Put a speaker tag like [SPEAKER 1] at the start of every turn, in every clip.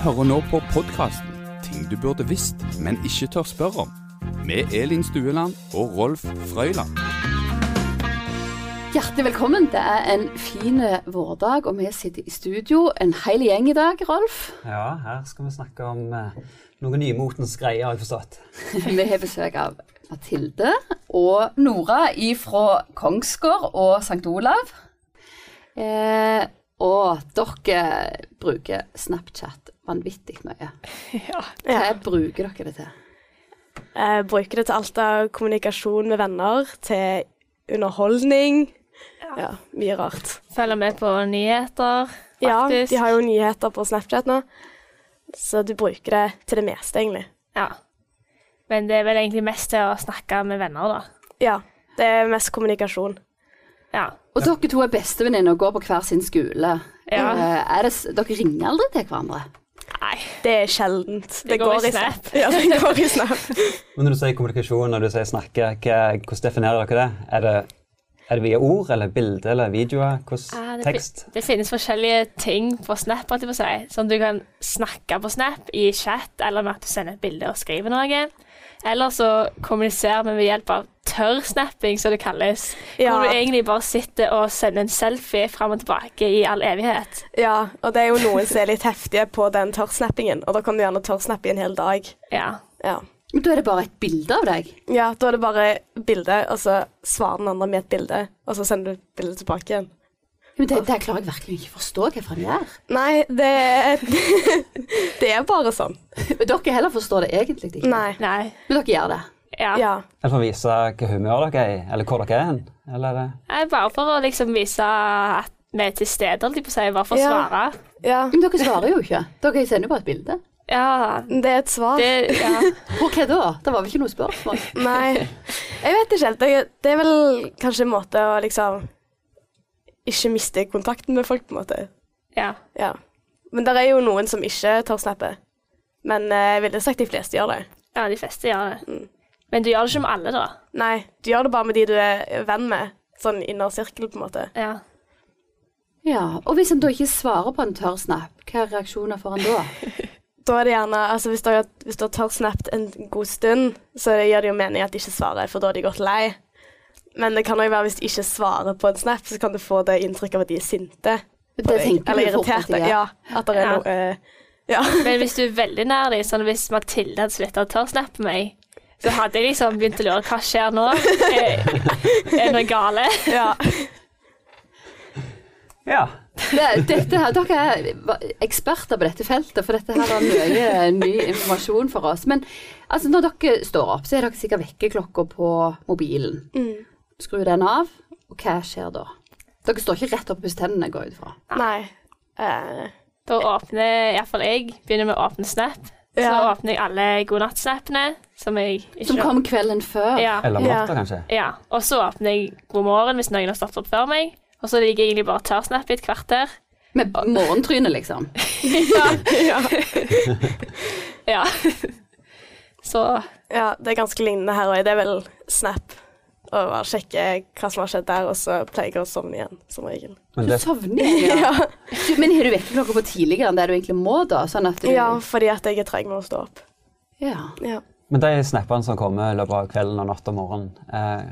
[SPEAKER 1] hører nå på podkasten 'Ting du burde visst, men ikke tør spørre om' med Elin Stueland og Rolf Frøyland.
[SPEAKER 2] Hjertelig velkommen. Det er en fin eh, vårdag, og vi sitter i studio. En hel gjeng i dag, Rolf.
[SPEAKER 3] Ja, her skal vi snakke om eh, noen nymotens greier, har jeg forstått.
[SPEAKER 2] Vi har besøk av Mathilde og Nora fra Kongsgård og St. Olav. Eh, og dere bruker Snapchat vanvittig mye.
[SPEAKER 4] Ja.
[SPEAKER 2] Hva bruker dere det til?
[SPEAKER 4] Jeg Eh, bruker det til alt av kommunikasjon med venner, til underholdning. Ja, mye rart.
[SPEAKER 5] Følger med på nyheter, faktisk.
[SPEAKER 4] Ja, de har jo nyheter på Snapchat nå, så du bruker det til det meste, egentlig.
[SPEAKER 5] Ja. Men det er vel egentlig mest til å snakke med venner, da.
[SPEAKER 4] Ja, det er mest kommunikasjon.
[SPEAKER 5] Ja.
[SPEAKER 2] Og dere to er bestevenninner og går på hver sin skole.
[SPEAKER 5] Ja.
[SPEAKER 2] Eh, er det, s- dere ringer aldri til hverandre?
[SPEAKER 5] Nei.
[SPEAKER 4] Det er sjeldent.
[SPEAKER 5] Det går i Snap.
[SPEAKER 4] Ja, det går i Snap.
[SPEAKER 3] Men når du sier kommunikasjon og du sier snakke, hva, hvordan definerer dere det? Er det, er det via ord eller bilde eller videoer?
[SPEAKER 5] Ah,
[SPEAKER 3] Hvordan
[SPEAKER 5] det,
[SPEAKER 3] tekst?
[SPEAKER 5] fin- det finnes forskjellige ting på Snap. holdt jeg på å si. Sånn du kan snakke på Snap i chat, eller med at du sender et bilde og skriver noe. Eller så kommuniserer vi ved hjelp av tørrsnapping, som det kalles.
[SPEAKER 4] Ja.
[SPEAKER 5] Hvor du egentlig bare sitter og sender en selfie fram og tilbake i all evighet.
[SPEAKER 4] Ja, og det er jo noen som er litt heftige på den tørrsnappingen, og da kan du gjerne tørrsnappe i en hel dag.
[SPEAKER 5] Ja.
[SPEAKER 4] Ja.
[SPEAKER 2] Men da er det bare et bilde av deg.
[SPEAKER 4] ja, da er det bare bilde, og så svarer den andre med et bilde, og så sender du bildet tilbake igjen.
[SPEAKER 2] Men det, det klarer jeg virkelig ikke å forstå hvorfor de gjør.
[SPEAKER 4] Nei, det, det er bare sånn.
[SPEAKER 2] Dere heller forstår det egentlig ikke.
[SPEAKER 4] Nei.
[SPEAKER 5] Nei.
[SPEAKER 2] Men dere gjør det.
[SPEAKER 5] Ja.
[SPEAKER 4] Ja.
[SPEAKER 3] Eller for å vise hva humør dere er i, eller hvor dere er hen? Eller eh, er det
[SPEAKER 5] Nei, Bare for å liksom vise at vi er til stede, holdt jeg på å si. Bare for å
[SPEAKER 4] Ja.
[SPEAKER 5] svare.
[SPEAKER 4] ja.
[SPEAKER 2] Men dere svarer jo ikke. Dere sender bare et bilde.
[SPEAKER 5] Ja,
[SPEAKER 4] Det er et svar.
[SPEAKER 5] det ja.
[SPEAKER 2] Og hva da? Det var vel ikke noe spørsmål?
[SPEAKER 4] Nei. Jeg vet ikke helt. Det, det er vel kanskje en måte å liksom ikke miste kontakten med folk, på en måte.
[SPEAKER 5] ja.
[SPEAKER 4] Ja. Men det er jo noen som ikke tar snappet. Men eh, jeg ville sagt de fleste gjør det.
[SPEAKER 5] Ja, de fleste gjør det. Men du gjør det ikke med alle, da.
[SPEAKER 4] Nei, du gjør det bare med de du er venn med. Sånn innersirkel, på en måte.
[SPEAKER 5] Ja.
[SPEAKER 2] Ja, Og hvis en da ikke svarer på en tørr snap, hva er reaksjoner får en da?
[SPEAKER 4] Da er det gjerne, altså Hvis du har, hvis du har tørrsnappet en god stund, så gir det jo mening at de ikke svarer, for da er de gått lei. Men det kan òg være hvis de ikke svarer på en snap, så kan du få det inntrykk av at de er sinte.
[SPEAKER 2] Det tenker
[SPEAKER 4] Eller
[SPEAKER 2] du fort at
[SPEAKER 4] irriterte.
[SPEAKER 2] jeg
[SPEAKER 4] Ja,
[SPEAKER 2] gjør.
[SPEAKER 4] at det er
[SPEAKER 5] Ja.
[SPEAKER 4] noe eh, Ja.
[SPEAKER 5] Men hvis du er veldig nær dem, sånn hvis Mathilde hadde slutta å tørrsnappe meg, så hadde jeg liksom begynt å lure hva skjer nå? Er, er det noe gale?
[SPEAKER 4] ja.
[SPEAKER 3] Ja.
[SPEAKER 2] Det, dette her, dere er va- eksperter på dette feltet, for dette her er mye ny informasjon for oss. Men altså, når dere står opp, så er dere sikkert vekkerklokka på mobilen.
[SPEAKER 4] Mm.
[SPEAKER 2] Skru den av, og hva skjer da? Dere står ikke rett opp og pusser tennene, går jeg ut fra.
[SPEAKER 4] Nei. Eh,
[SPEAKER 5] Da åpner iallfall jeg begynner med å åpne Snap. Så
[SPEAKER 4] Ja.
[SPEAKER 5] åpner jeg alle godnattsnappene, som jeg ikke
[SPEAKER 2] Som kom kvelden før.
[SPEAKER 5] Ja.
[SPEAKER 3] Eller
[SPEAKER 4] Ja.
[SPEAKER 3] matta, kanskje?
[SPEAKER 5] ja. Og så åpner jeg God morgen hvis noen har stått opp før meg. Og så ligger jeg egentlig bare og tørrsnapper i et kvarter.
[SPEAKER 2] Med morgentrynet, liksom.
[SPEAKER 4] ja.
[SPEAKER 5] Ja. Så
[SPEAKER 4] ja, det er ganske lignende her òg. Det er vel snap. Og bare sjekke hva som har skjedd der, og så pleier jeg å sovne igjen, som regel.
[SPEAKER 3] Men
[SPEAKER 2] Du
[SPEAKER 3] det,
[SPEAKER 2] sovner igjen, ja. Du, men har du vekkerklokka på tidligere enn det du egentlig må, da? Sånn at du
[SPEAKER 4] Ja, fordi at jeg er treg med å stå opp.
[SPEAKER 2] ja.
[SPEAKER 4] Ja.
[SPEAKER 3] men de snappene som kommer i løpet av kvelden og natt og morgen, eh,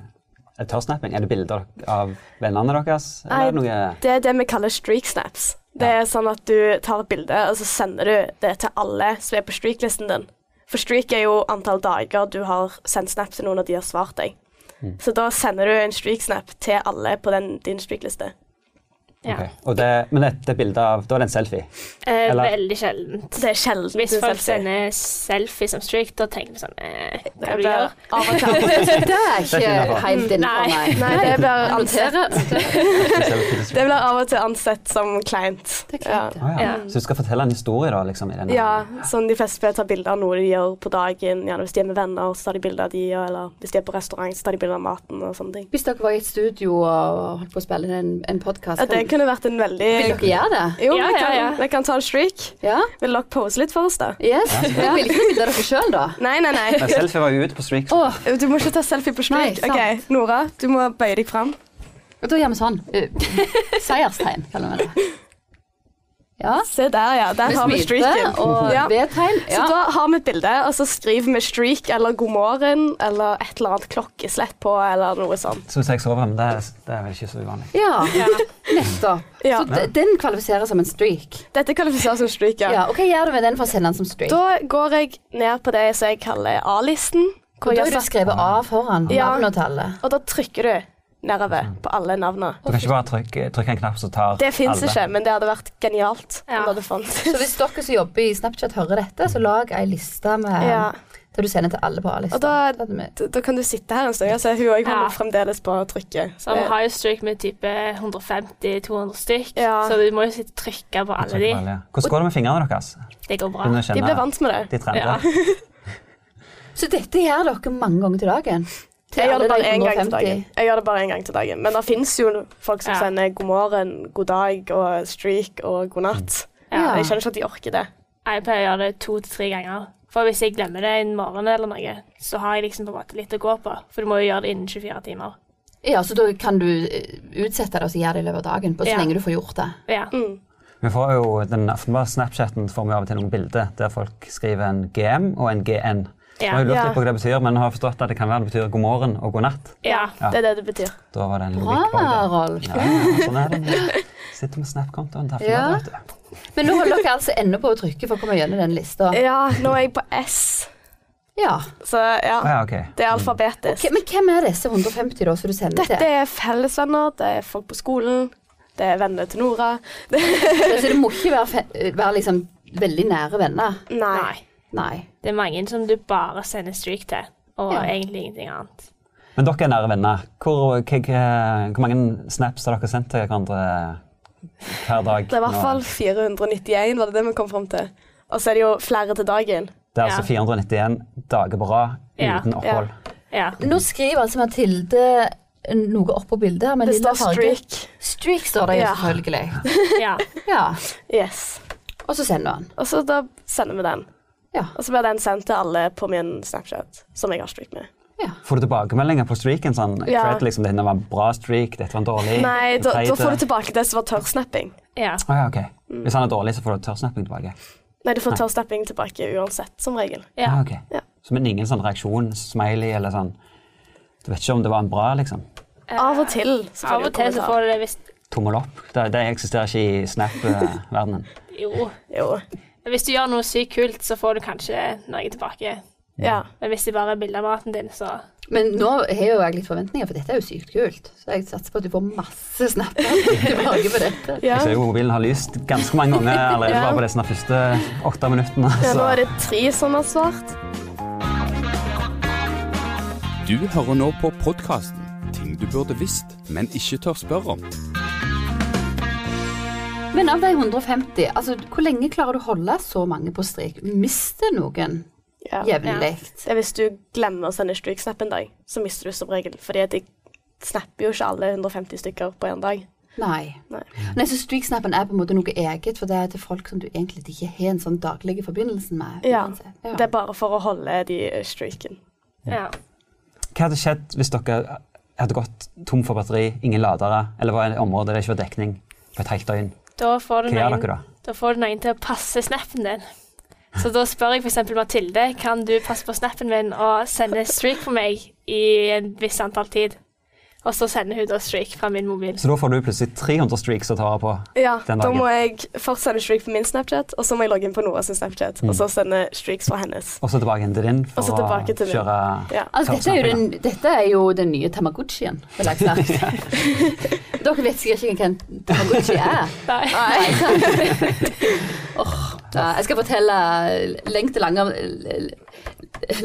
[SPEAKER 3] er tørrsnapping? Er det bilder av vennene deres? Eller er det noe
[SPEAKER 4] det er det vi kaller streak snaps. Det er sånn at du tar et bilde, og så sender du det til alle som er på streak-listen din. For streak er jo antall dager du har sendt snap til noen, og de har svart deg. Så da sender du en streak-snap til alle på den, din streak-liste.
[SPEAKER 5] ja.
[SPEAKER 3] Ok. Og det, Men det, det er bilde av Da er det en selfie?
[SPEAKER 5] Eh,
[SPEAKER 3] Eller-
[SPEAKER 5] Veldig sjeldent.
[SPEAKER 4] Det er sjelden
[SPEAKER 5] Hvis
[SPEAKER 4] du
[SPEAKER 5] folk
[SPEAKER 4] selfie.
[SPEAKER 5] sender selfie som streak, da tenker vi sånn eh, Hva
[SPEAKER 4] Det
[SPEAKER 5] du
[SPEAKER 4] blir
[SPEAKER 5] gjør?
[SPEAKER 4] av og til.
[SPEAKER 2] Det er
[SPEAKER 3] Det er ikke
[SPEAKER 2] ikke helt innenfor
[SPEAKER 5] Nei.
[SPEAKER 2] meg.
[SPEAKER 4] Nei, det blir ansett,
[SPEAKER 2] Noterer. noterer.
[SPEAKER 3] En selfie
[SPEAKER 4] det blir av og til ansett som kleint.
[SPEAKER 2] Det er
[SPEAKER 4] Ja.
[SPEAKER 2] klart, det.
[SPEAKER 3] Ah, ja.
[SPEAKER 5] Ja.
[SPEAKER 3] Så du skal fortelle en historie, da? liksom, i denne?
[SPEAKER 4] Ja, sånn de fleste pleier å ta bilder av noe de gjør på dagen. Gjerne hvis de er med venner, så tar de bilder av de, eller hvis de er på restaurant, så tar de bilder av maten og sånne ting.
[SPEAKER 2] Hvis dere var i et studio og holdt på å spille inn en, en podkast,
[SPEAKER 4] Ja, det
[SPEAKER 2] vil
[SPEAKER 4] kunne vært en veldig
[SPEAKER 2] dere gjøre det?
[SPEAKER 4] Jo,
[SPEAKER 5] Ja,
[SPEAKER 4] vi,
[SPEAKER 5] ja,
[SPEAKER 4] kan,
[SPEAKER 5] ja.
[SPEAKER 4] vi kan ta en streak.
[SPEAKER 2] Ja?
[SPEAKER 4] Vil dere pose litt for oss, da?
[SPEAKER 2] Yes? Dere vil ikke bilde dere sjøl, da?
[SPEAKER 4] Nei, nei, nei.
[SPEAKER 3] Men selfie var jo ute på streak.
[SPEAKER 2] Å,
[SPEAKER 4] Du må ikke ta selfie på
[SPEAKER 2] Nei,
[SPEAKER 4] streak.
[SPEAKER 2] sant.
[SPEAKER 4] OK, Nora, du må bøye deg fram.
[SPEAKER 2] da gjør vi sånn. Eh, Seierstegn, kaller vi det. Ja.
[SPEAKER 4] Se der, ja. Der har vi
[SPEAKER 2] Med
[SPEAKER 4] streaken.
[SPEAKER 2] smilte og
[SPEAKER 4] Ja.
[SPEAKER 2] V-tegn.
[SPEAKER 4] Så
[SPEAKER 2] Ja.
[SPEAKER 4] da har vi et bilde, og så skriver vi streak eller god morgen eller et eller annet klokkeslett på eller noe sånt.
[SPEAKER 3] Så hvis jeg sover, men det, er- det er vel ikke så uvanlig.
[SPEAKER 2] Ja, nettopp.
[SPEAKER 4] Ja.
[SPEAKER 2] Så d- den kvalifiserer som en streak.
[SPEAKER 4] Dette kvalifiserer som streak,
[SPEAKER 2] Ja,
[SPEAKER 4] ja.
[SPEAKER 2] og Hva gjør du med den for å sende den som streak?
[SPEAKER 4] Da går jeg ned på det som jeg kaller A-listen. hvor
[SPEAKER 2] Og da
[SPEAKER 4] jeg
[SPEAKER 2] er det
[SPEAKER 4] har satt-
[SPEAKER 2] skrevet A foran
[SPEAKER 4] Ja.
[SPEAKER 2] navnetallet.
[SPEAKER 4] Og da trykker du nedover på alle navnene.
[SPEAKER 3] Du kan ikke bare trykke, trykke en knapp som tar
[SPEAKER 4] Det fins
[SPEAKER 3] alle.
[SPEAKER 4] ikke, men det hadde vært genialt.
[SPEAKER 5] Ja.
[SPEAKER 4] om det fantes.
[SPEAKER 2] Så hvis dere som jobber i Snapchat hører dette, så lag ei liste med
[SPEAKER 4] Ja.
[SPEAKER 2] der du sender til alle på A-lista.
[SPEAKER 4] Og da-
[SPEAKER 2] Det hadde vi-
[SPEAKER 4] Da, da kan du sitte her en stund. Altså, hun òg holder
[SPEAKER 5] Ja.
[SPEAKER 4] fremdeles på å trykke.
[SPEAKER 5] Så vi har jo streak med type 150-200 stykk,
[SPEAKER 4] Ja.
[SPEAKER 5] så du må jo sitte og trykke på alle de.
[SPEAKER 3] Trykke på alle, ja. Hvordan går det med fingrene deres?
[SPEAKER 5] Det går bra.
[SPEAKER 3] Begynner å
[SPEAKER 4] De
[SPEAKER 3] kjenne-
[SPEAKER 4] blir vant med det.
[SPEAKER 3] De trener
[SPEAKER 5] Ja.
[SPEAKER 3] det.
[SPEAKER 2] Så dette gjør dere mange ganger til dagen? Til
[SPEAKER 4] Jeg gjør det
[SPEAKER 2] alle de
[SPEAKER 4] bare én gang til
[SPEAKER 2] 150.
[SPEAKER 4] dagen. Jeg gjør det bare en gang til dagen. Men det fins jo folk som
[SPEAKER 5] Ja.
[SPEAKER 4] sender god morgen, god dag og streak og god natt.
[SPEAKER 5] Mm.
[SPEAKER 2] Ja.
[SPEAKER 4] Jeg skjønner ikke at de orker det.
[SPEAKER 5] Jeg pleier å gjøre det to til tre ganger. For hvis jeg glemmer det en morgen eller noe, så har jeg liksom på en måte litt å gå på. For du må jo gjøre det innen 24 timer.
[SPEAKER 2] Ja, så da kan du eh, utsette det og så gjøre det i løpet av dagen, på så
[SPEAKER 5] Ja.
[SPEAKER 2] lenge du får gjort det.
[SPEAKER 5] Ja.
[SPEAKER 4] Mm.
[SPEAKER 3] Vi får jo den åpenbare Snapchatten får vi av og til noen bilder der folk skriver en GM og en GN. Jeg har
[SPEAKER 5] Ja.
[SPEAKER 3] jo lurt
[SPEAKER 4] Ja.
[SPEAKER 3] litt på hva det betyr, men har forstått at det kan være det betyr god morgen og god natt.
[SPEAKER 5] ja.
[SPEAKER 3] Ja.
[SPEAKER 4] Det er det det betyr.
[SPEAKER 3] Da var det en logikk bak
[SPEAKER 2] Bra,
[SPEAKER 3] det.
[SPEAKER 2] Rolf.
[SPEAKER 3] Ja, ja, sånn er det. Sitter med Snap-kontoen til
[SPEAKER 2] Ja.
[SPEAKER 3] Aftenbladet, vet du.
[SPEAKER 2] Men nå holder dere altså ennå på å trykke for å komme gjennom den lista.
[SPEAKER 4] Ja, nå er jeg på S,
[SPEAKER 2] Ja.
[SPEAKER 4] så ja.
[SPEAKER 3] Ah, ja, ok.
[SPEAKER 4] Det er alfabetisk.
[SPEAKER 2] Ke- Men hvem er disse 150 da som du sender
[SPEAKER 4] Dette
[SPEAKER 2] til?
[SPEAKER 4] er fellesvenner, det er folk på skolen, det er venner til Nora. Det,
[SPEAKER 2] Så det må ikke være, fe- være liksom veldig nære venner.
[SPEAKER 4] nei.
[SPEAKER 5] Nei.
[SPEAKER 2] Nei.
[SPEAKER 5] Det er mange som du bare sender streak til, og
[SPEAKER 2] Ja.
[SPEAKER 5] egentlig ingenting annet.
[SPEAKER 3] Men dere er nære venner. Hvor, hva- hva- hvor mange snaps har dere sendt til hverandre hver dag?
[SPEAKER 4] Det er i hvert
[SPEAKER 3] nå?
[SPEAKER 4] fall 491, var det det vi kom fram til. Og så er det jo flere til dagen.
[SPEAKER 3] Det er altså
[SPEAKER 5] Ja.
[SPEAKER 3] 491 dager på rad
[SPEAKER 5] Ja,
[SPEAKER 3] uten opphold.
[SPEAKER 5] Ja.
[SPEAKER 2] Nå skriver altså Mathilde eh, noe oppå bildet her med
[SPEAKER 4] Det
[SPEAKER 2] lilla
[SPEAKER 4] står
[SPEAKER 2] farge.
[SPEAKER 4] streak.
[SPEAKER 2] Streak står det jo
[SPEAKER 4] Ja.
[SPEAKER 2] selvfølgelig.
[SPEAKER 5] ja.
[SPEAKER 2] Ja.
[SPEAKER 4] Yes.
[SPEAKER 2] Og så sender han.
[SPEAKER 4] Og så da sender vi den.
[SPEAKER 2] Ja.
[SPEAKER 4] Og så blir den sendt til alle på min Snapchat, som jeg har streak med.
[SPEAKER 2] ja.
[SPEAKER 3] Får du tilbakemeldinger på streaken? sånn,
[SPEAKER 4] Ja.
[SPEAKER 3] cred, liksom, Dette var en bra streak, dette var en dårlig
[SPEAKER 4] Nei, da,
[SPEAKER 3] teit,
[SPEAKER 4] da får
[SPEAKER 3] eh.
[SPEAKER 4] du tilbake det som var tørrsnapping.
[SPEAKER 5] ja.
[SPEAKER 3] Å Ah, ja, ok. Hvis han er dårlig, så får du tørrsnapping tilbake.
[SPEAKER 4] Nei, du får tørrsnapping tilbake uansett, som regel.
[SPEAKER 5] ja.
[SPEAKER 3] Ah, ok.
[SPEAKER 4] Ja.
[SPEAKER 3] Så men ingen sånn reaksjon, smiley eller sånn Du vet ikke om det var en bra, liksom.
[SPEAKER 4] Av og til. så får
[SPEAKER 5] Av
[SPEAKER 4] du
[SPEAKER 5] og til så
[SPEAKER 4] kommentar.
[SPEAKER 5] får du det hvis
[SPEAKER 3] Tommel opp. Det, det eksisterer ikke i Snap-verdenen.
[SPEAKER 5] Jo.
[SPEAKER 4] Jo.
[SPEAKER 5] Men Hvis du gjør noe sykt kult, så får du kanskje noe tilbake.
[SPEAKER 4] Ja.
[SPEAKER 5] Men hvis det bare er bilde av maten din, så
[SPEAKER 2] Men nå har jo jeg litt forventninger, for dette er jo sykt kult. Så jeg satser på at du får masse snapper tilbake på dette.
[SPEAKER 4] ja.
[SPEAKER 3] Jeg ser jo mobilen har lyst ganske mange ganger allerede
[SPEAKER 4] Ja.
[SPEAKER 3] bare på disse første åtte minuttene.
[SPEAKER 4] Ja, nå
[SPEAKER 3] Så.
[SPEAKER 4] er det tre som har svart.
[SPEAKER 1] Du hører nå på podkasten Ting du burde visst, men ikke tør spørre om.
[SPEAKER 2] Men av de 150, altså hvor lenge klarer du å holde så mange på strik? Mister noen
[SPEAKER 4] Ja.
[SPEAKER 2] jevnlig?
[SPEAKER 4] Det er hvis du glemmer å sende streak-snap en dag, så mister du som regel. Fordi at jeg snapper jo ikke alle 150 stykker på en dag.
[SPEAKER 2] Nei.
[SPEAKER 4] Nei.
[SPEAKER 2] Nei, så streaksnappen er på en måte noe eget, for det er til folk som du egentlig ikke har en sånn daglig forbindelse med.
[SPEAKER 4] Ja.
[SPEAKER 2] uansett.
[SPEAKER 4] Det er bare for å holde de eh, streaken.
[SPEAKER 5] ja.
[SPEAKER 3] Hva hadde skjedd hvis dere hadde gått tom for batteri, ingen ladere, eller var i et område der det ikke var dekning på et helt døgn?
[SPEAKER 5] Da får du
[SPEAKER 3] Hva gjør
[SPEAKER 5] noen
[SPEAKER 3] dere da?
[SPEAKER 5] Da får du noen til å passe snappen din. Så da spør jeg f.eks. Mathilde kan du passe på snappen min og sende streak for meg i en viss antall tid. Og så sender hun da streak fra min mobil.
[SPEAKER 3] Så da får du plutselig 300 streaks å ta vare på.
[SPEAKER 4] Ja,
[SPEAKER 3] Den
[SPEAKER 4] da
[SPEAKER 3] dagen.
[SPEAKER 4] må jeg først sende streak på min Snapchat, og så må jeg logge inn på Noras Snapchat, og så
[SPEAKER 3] Mm.
[SPEAKER 4] sende streaks fra hennes.
[SPEAKER 3] Og så tilbake inn til din
[SPEAKER 4] Og
[SPEAKER 3] for
[SPEAKER 4] så
[SPEAKER 3] å
[SPEAKER 4] tilbake til min.
[SPEAKER 3] kjøre
[SPEAKER 4] Ja.
[SPEAKER 2] Altså, dette, er jo den, dette er jo den nye Tamagotchien, vil jeg sagt. Dere vet sikkert ikke hva en Tamagotchi er.
[SPEAKER 5] Nei.
[SPEAKER 2] Nei. Åh, ja, jeg skal fortelle lengt og langt,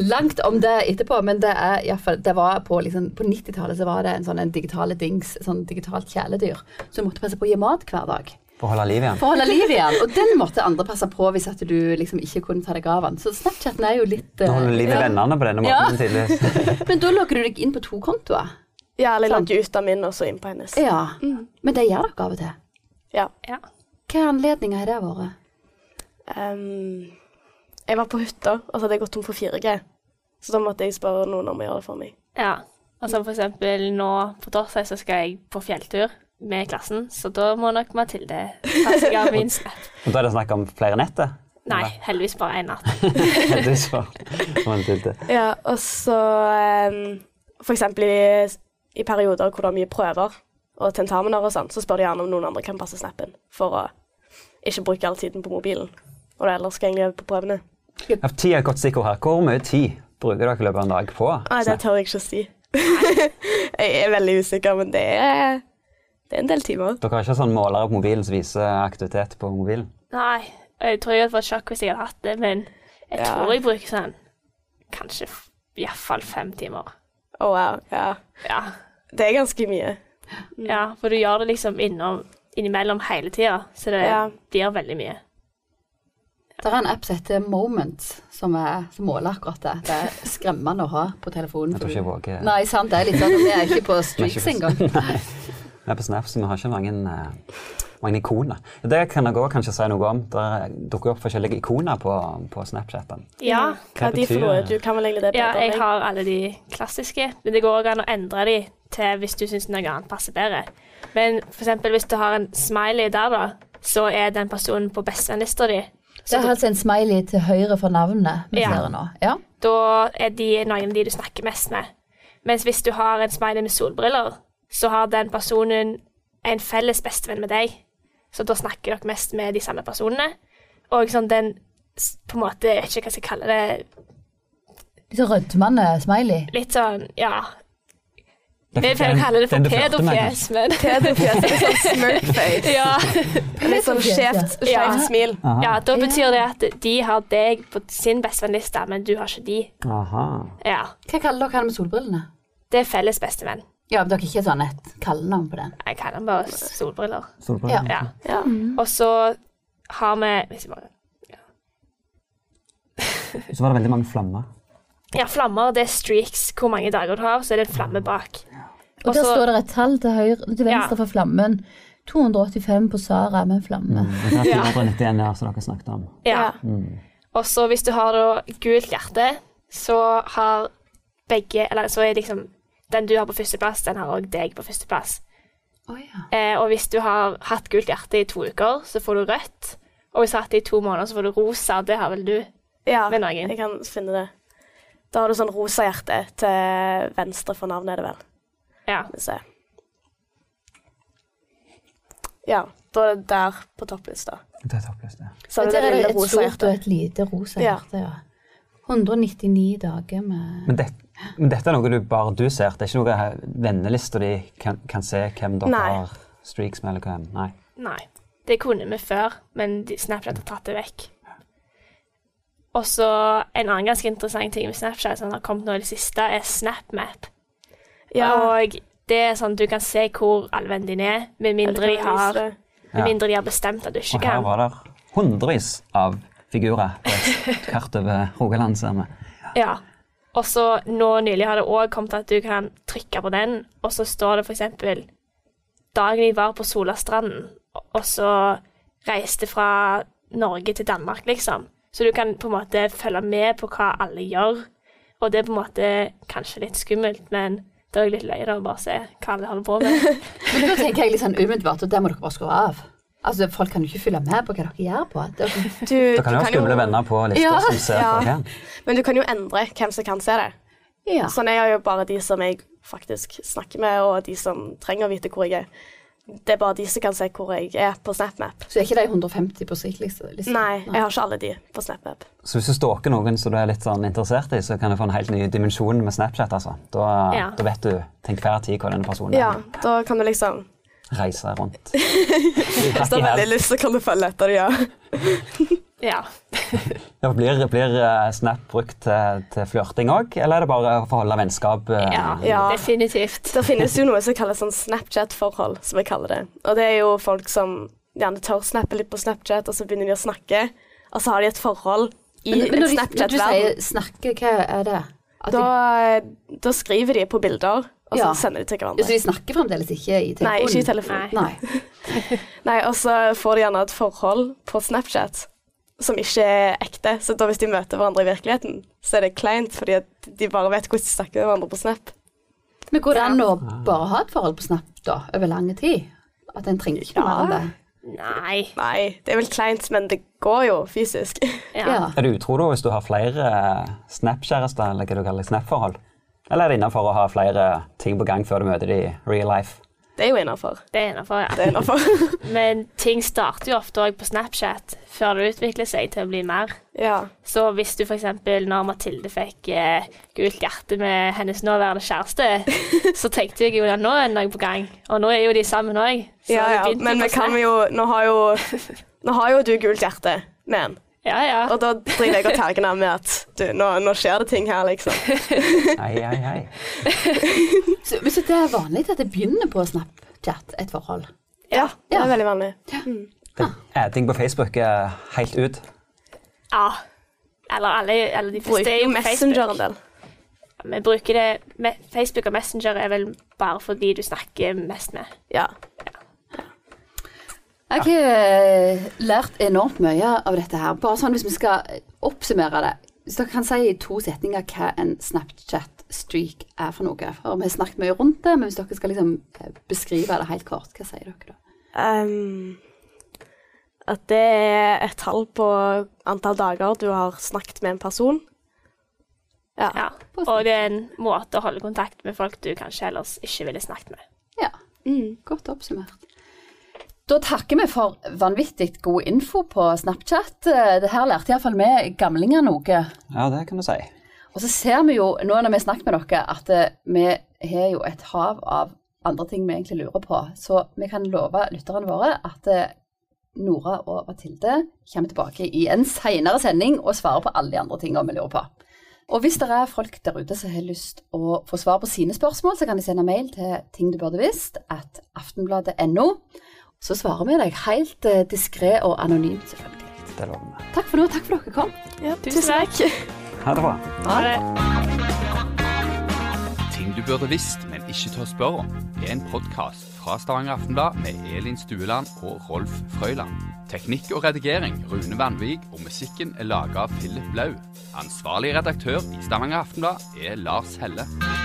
[SPEAKER 2] langt om det etterpå, men det er i hvert fall- det var på, liksom, på 90-tallet så var det en sånn en digitale dings, sånn digitalt kjæledyr, som måtte passe på å gi mat hver dag.
[SPEAKER 3] for å holde liv igjen.
[SPEAKER 2] For å holde liv igjen. Og den måtte andre passe på hvis at du liksom ikke kunne ta deg av den. Så Snapchaten er jo litt eh,
[SPEAKER 3] Nå holder du liv i
[SPEAKER 2] ja.
[SPEAKER 3] vennene på denne
[SPEAKER 2] Ja.
[SPEAKER 3] måten. tydeligvis.
[SPEAKER 2] Men da logger du deg inn på to kontoer.
[SPEAKER 4] Ja, eller jeg
[SPEAKER 2] Sant.
[SPEAKER 4] logger ut av min, og så inn på hennes.
[SPEAKER 2] Ja.
[SPEAKER 6] Mm.
[SPEAKER 2] Men det gjør dere av og til.
[SPEAKER 4] Ja.
[SPEAKER 5] Ja.
[SPEAKER 2] Hvilke anledninger har det vært?
[SPEAKER 4] Ehm, jeg var på hytta, og så hadde jeg gått tom for 4G. Så da måtte jeg spørre noen om å gjøre det for meg.
[SPEAKER 5] ja. Og så for eksempel nå på torsdag så skal jeg på fjelltur. med klassen, så da må nok Mathilde ta seg av min snap.
[SPEAKER 3] Og da er det snakk om flere netter?
[SPEAKER 5] Nei, heldigvis bare én natt.
[SPEAKER 3] Det er svar. Mathilde.
[SPEAKER 4] Ja, og så em, for eksempel i, i perioder hvor det er mye prøver og tentamener og sånn, så spør de gjerne om noen andre kan passe snappen for å ikke bruke all tiden på mobilen. Og det ellers skal egentlig øve på prøvene.
[SPEAKER 3] Ja, Tid er et godt stikkord her. Hvor mye tid bruker dere i løpet av en dag på?
[SPEAKER 4] Nei, det
[SPEAKER 3] Snap?
[SPEAKER 4] tør jeg ikke å si. jeg er veldig usikker, men det er, det er en del timer.
[SPEAKER 3] Dere har ikke sånn målere på mobilen som viser aktivitet på mobilen?
[SPEAKER 5] Nei, jeg tror jeg hadde fått sjokk hvis jeg hadde hatt det, men jeg
[SPEAKER 4] Ja.
[SPEAKER 5] tror jeg bruker sånn kanskje f- i hvert fall fem timer.
[SPEAKER 4] Å, wow. Ja.
[SPEAKER 5] Ja.
[SPEAKER 4] Det er ganske mye.
[SPEAKER 5] ja, for du gjør det liksom innom, innimellom hele tida, så det
[SPEAKER 4] Ja.
[SPEAKER 5] blir veldig mye.
[SPEAKER 2] Det er en app som heter Moments, som, er, som måler akkurat det. Det er skremmende å ha på telefonen.
[SPEAKER 3] Jeg tror ikke jeg våger
[SPEAKER 2] Mm. Nei, sant, det er litt sånn, vi er ikke på streaks
[SPEAKER 3] Vi er ikke
[SPEAKER 2] engang.
[SPEAKER 3] Vi er på Snap, så vi har ikke mange, eh, mange ikoner. Det kan jeg også kanskje si noe om. Det dukker opp forskjellige ikoner på, på Snapchaten.
[SPEAKER 5] Ja.
[SPEAKER 4] Hva er de for noe? Du kan vel egentlig det
[SPEAKER 5] ja,
[SPEAKER 4] bedre enn
[SPEAKER 5] jeg
[SPEAKER 4] meg?
[SPEAKER 5] har alle de klassiske, men det går òg an å endre de til hvis du syns noe annet passer bedre. Men for eksempel hvis du har en smiley der, da, så er den personen på bestevennlista di.
[SPEAKER 6] Så jeg har altså en smiley til høyre for navnet vi
[SPEAKER 5] Ja.
[SPEAKER 6] ser nå. Ja.
[SPEAKER 5] da er de noen av de du snakker mest med. Mens hvis du har en smiley med solbriller, så har den personen en felles bestevenn med deg. Så da snakker dere mest med de samme personene. Og sånn den s- på en måte, jeg vet ikke hva jeg skal kalle det,
[SPEAKER 6] Litt sånn rødmende smiley.
[SPEAKER 5] litt sånn, ja Vi pleier å kalle det for pedofjes, men
[SPEAKER 4] Pedofjes, sånn smirkface.
[SPEAKER 5] ja,
[SPEAKER 4] Litt sånn skjevt, skjevt
[SPEAKER 5] Ja.
[SPEAKER 4] smil.
[SPEAKER 5] ja, da betyr det at de har deg på sin bestevennliste, men du har ikke de.
[SPEAKER 3] Aha.
[SPEAKER 5] Ja.
[SPEAKER 2] Hva kaller dere han med solbrillene?
[SPEAKER 5] Det er felles bestevenn.
[SPEAKER 2] Ja, men dere har ikke sånn et kallenavn på den?
[SPEAKER 5] Jeg kaller den bare solbriller.
[SPEAKER 3] Solbriller.
[SPEAKER 5] Ja.
[SPEAKER 4] Ja.
[SPEAKER 5] Og så har vi hvis jeg bare-
[SPEAKER 3] Så var det veldig mange flammer.
[SPEAKER 5] Ja, flammer, det er streaks. Hvor mange dager du har, så er det en flamme bak.
[SPEAKER 6] Og der
[SPEAKER 5] så-
[SPEAKER 6] står det et tall til, høyre, til venstre
[SPEAKER 5] Ja.
[SPEAKER 6] for flammen. 285 på Sara med en flamme.
[SPEAKER 3] Det er 491 ja, som dere snakket om.
[SPEAKER 5] Ja. Og så hvis du har da gult hjerte, så har begge Eller så er liksom den du har på førsteplass, den har òg deg på førsteplass.
[SPEAKER 2] Å ja.
[SPEAKER 5] Eh, og hvis du har hatt gult hjerte i to uker, så får du rødt. Og hvis du har hatt det i to måneder, så får du rosa. Det har vel du.
[SPEAKER 4] Ja,
[SPEAKER 5] Med noen.
[SPEAKER 4] jeg kan finne det. Da har du sånn rosa hjerte til venstre for navnet, er det vel.
[SPEAKER 5] Ja.
[SPEAKER 4] Skal vi se. Ja, da er det der på topplista.
[SPEAKER 3] Det er toppløst, ja.
[SPEAKER 4] Så er det
[SPEAKER 6] Der er
[SPEAKER 4] det
[SPEAKER 6] det
[SPEAKER 4] lille
[SPEAKER 6] et
[SPEAKER 4] rosa
[SPEAKER 6] stort og
[SPEAKER 4] hjertet.
[SPEAKER 6] et lite rosa
[SPEAKER 4] Ja.
[SPEAKER 6] hjerte, ja. 199 dager med
[SPEAKER 3] Men, det, men dette er noe du bare du ser? Det er ikke noe her- vennelista di kan, kan se hvem dere
[SPEAKER 4] Nei.
[SPEAKER 3] har streaks med? eller hvem? Nei.
[SPEAKER 5] Nei. Det kunne vi før, men de- Snapchat har tatt det vekk. Og så en annen ganske interessant ting med Snapchat som har kommet nå i det siste, er SnapMap.
[SPEAKER 4] Ja,
[SPEAKER 5] Og det er sånn du kan se hvor alle vennene dine er, med mindre, de
[SPEAKER 4] eller kan
[SPEAKER 5] har,
[SPEAKER 4] vise det.
[SPEAKER 5] med mindre de har bestemt at du ikke
[SPEAKER 3] Og her
[SPEAKER 5] kan.
[SPEAKER 3] var det hundrevis av figurer på et kart over Rogaland, ser vi.
[SPEAKER 5] Ja. Og så nå nylig har det òg kommet at du kan trykke på den, og så står det f.eks. Dagen vi var på Solastranden, og så reiste fra Norge til Danmark, liksom. Så du kan på en måte følge med på hva alle gjør. Og det er på en måte kanskje litt skummelt, men det er jo litt løye da å bare se hva alle holder på med.
[SPEAKER 2] Men da tenker jeg litt sånn umiddelbart, og der må dere bare skru av. Altså, folk kan jo ikke følge med på hva dere gjør på. Det er sånn. jo-
[SPEAKER 4] Du,
[SPEAKER 3] Dere kan jo ha skumle venner på lista
[SPEAKER 2] Ja.
[SPEAKER 3] som ser
[SPEAKER 4] Ja.
[SPEAKER 3] på hvem.
[SPEAKER 4] Men du kan jo endre hvem som kan se det.
[SPEAKER 2] Ja.
[SPEAKER 4] Sånn jeg har jo bare de som jeg faktisk snakker med, og de som trenger å vite hvor jeg er. Det er bare de som kan se hvor jeg er på SnapMap.
[SPEAKER 2] Så er ikke de 150 på strikklista? Liksom.
[SPEAKER 4] Nei, jeg har ikke alle de på SnapMap.
[SPEAKER 3] Så hvis du stalker noen som du er litt sånn interessert i, så kan du få en helt ny dimensjon med Snapchat. altså. Da,
[SPEAKER 5] Ja.
[SPEAKER 3] da vet du til enhver tid hva denne personen
[SPEAKER 4] Ja, da kan du liksom
[SPEAKER 3] reiser rundt.
[SPEAKER 4] Hvis du
[SPEAKER 3] Ja.
[SPEAKER 4] har veldig lyst, så kan du følge etter det, ja.
[SPEAKER 5] Ja.
[SPEAKER 3] Ja, blir, blir eh, Snap brukt til, til flørting òg, eller er det bare for å holde vennskap? eh,
[SPEAKER 5] ja.
[SPEAKER 4] Ja.
[SPEAKER 5] Definitivt.
[SPEAKER 4] Det finnes jo noe som kalles sånn Snapchat-forhold, som jeg kaller det. Og det er jo folk som gjerne tør snappe litt på Snapchat, og så begynner de å snakke, og så har de et forhold i
[SPEAKER 2] Men, men
[SPEAKER 4] en
[SPEAKER 2] når, de, når du
[SPEAKER 4] Snapchat-verden.
[SPEAKER 2] sier 'snakke', hva er det? At
[SPEAKER 4] Da, eh,
[SPEAKER 2] de,
[SPEAKER 4] da skriver de på bilder, og så
[SPEAKER 2] Ja.
[SPEAKER 4] sender de til
[SPEAKER 2] så
[SPEAKER 4] hverandre.
[SPEAKER 2] de snakker fremdeles ikke i telefonen?
[SPEAKER 4] Nei, ikke i telefonen.
[SPEAKER 5] Nei.
[SPEAKER 2] Nei.
[SPEAKER 4] Nei, og så får de gjerne et forhold på Snapchat som ikke er ekte. Så da hvis de møter hverandre i virkeligheten, så er det kleint, fordi at de bare vet hvordan de snakker med hverandre på Snap.
[SPEAKER 2] Men går det an å bare ha et forhold på Snap da, over lang tid? At en trenger ikke noe
[SPEAKER 4] Ja.
[SPEAKER 2] mer enn det.
[SPEAKER 5] Nei.
[SPEAKER 4] Nei, det er vel kleint, men det går jo fysisk.
[SPEAKER 5] Ja.
[SPEAKER 2] Ja.
[SPEAKER 3] Er du utro da hvis du har flere eh, Snap-kjærester, eller hva du kaller det, Snap-forhold? Eller er det innenfor å ha flere ting på gang før du møter de i real life?
[SPEAKER 4] Det er jo innafor.
[SPEAKER 5] Det er innafor, ja.
[SPEAKER 4] Det er innafor.
[SPEAKER 5] Men ting starter jo ofte òg på Snapchat før det utvikler seg til å bli mer.
[SPEAKER 4] ja.
[SPEAKER 5] Så hvis du f.eks. når Mathilde fikk eh, gult hjerte med hennes nåværende kjæreste, så tenkte jeg jo at nå er det noe på gang. Og nå er jo de sammen òg.
[SPEAKER 4] ja, ja. Men vi kan jo Nå har jo, nå har jo du gult hjerte med en,
[SPEAKER 5] Ja, ja.
[SPEAKER 4] og da driver jeg og tagger den med at du, nå, nå skjer det ting her, liksom.
[SPEAKER 3] Hei, hei, hei.
[SPEAKER 2] Så, men så det er vanlig at det begynner på Snapchat, et forhold.
[SPEAKER 4] Ja, det
[SPEAKER 2] Ja.
[SPEAKER 4] er veldig vanlig.
[SPEAKER 3] Det- Adding Eh, på Facebook er helt ut.
[SPEAKER 5] ja. Eller alle, alle de fleste
[SPEAKER 4] Bruker
[SPEAKER 5] er
[SPEAKER 4] jo
[SPEAKER 5] jo på
[SPEAKER 4] Messenger en
[SPEAKER 5] Facebook.
[SPEAKER 4] del.
[SPEAKER 5] Vi bruker det me- Facebook og Messenger er vel bare for de du snakker mest med.
[SPEAKER 4] Ja.
[SPEAKER 2] Jeg har eh, lært enormt mye av dette her. Bare sånn hvis vi skal oppsummere det. Hvis dere kan si i to setninger hva en Snapchat-streak er for noe. For vi har snakket mye rundt det, men hvis dere skal liksom eh, beskrive det helt kort, hva sier dere da?
[SPEAKER 4] Ehm, at det er et tall på antall dager du har snakket med en person. Ja.
[SPEAKER 5] Ja.
[SPEAKER 2] På
[SPEAKER 5] Og det er en måte å holde kontakt med folk du kanskje ellers ikke ville snakket med.
[SPEAKER 2] Ja,
[SPEAKER 4] Mm.
[SPEAKER 2] godt oppsummert. Da takker vi for vanvittig god info på Snapchat. Eh, Det her lærte iallfall vi gamlinger noe.
[SPEAKER 3] Ja, det kan du si.
[SPEAKER 2] Og så ser vi jo nå når vi snakker med dere, at eh, vi har jo et hav av andre ting vi egentlig lurer på. Så vi kan love lytterne våre at eh, Nora og Mathilde kommer tilbake i en senere sending og svarer på alle de andre tingene vi lurer på. Og hvis det er folk der ute som har lyst å få svar på sine spørsmål, så kan de sende mail til ting du burde visst at aftenbladet.no. Så svarer vi deg helt eh, diskré og anonymt, selvfølgelig.
[SPEAKER 3] Det lover vi.
[SPEAKER 2] Takk for nå. Takk for dere kom.
[SPEAKER 5] Tusen takk.
[SPEAKER 3] Ha det bra.
[SPEAKER 5] Ha det.
[SPEAKER 1] Ting du burde visst, men ikke tør spørre om, er en podkast fra Stavanger Aftenblad med Elin Stueland og Rolf Frøyland. Teknikk og redigering Rune Vanvik, og musikken er laga av Philip Blau. Ansvarlig redaktør i Stavanger Aftenblad er Lars Helle.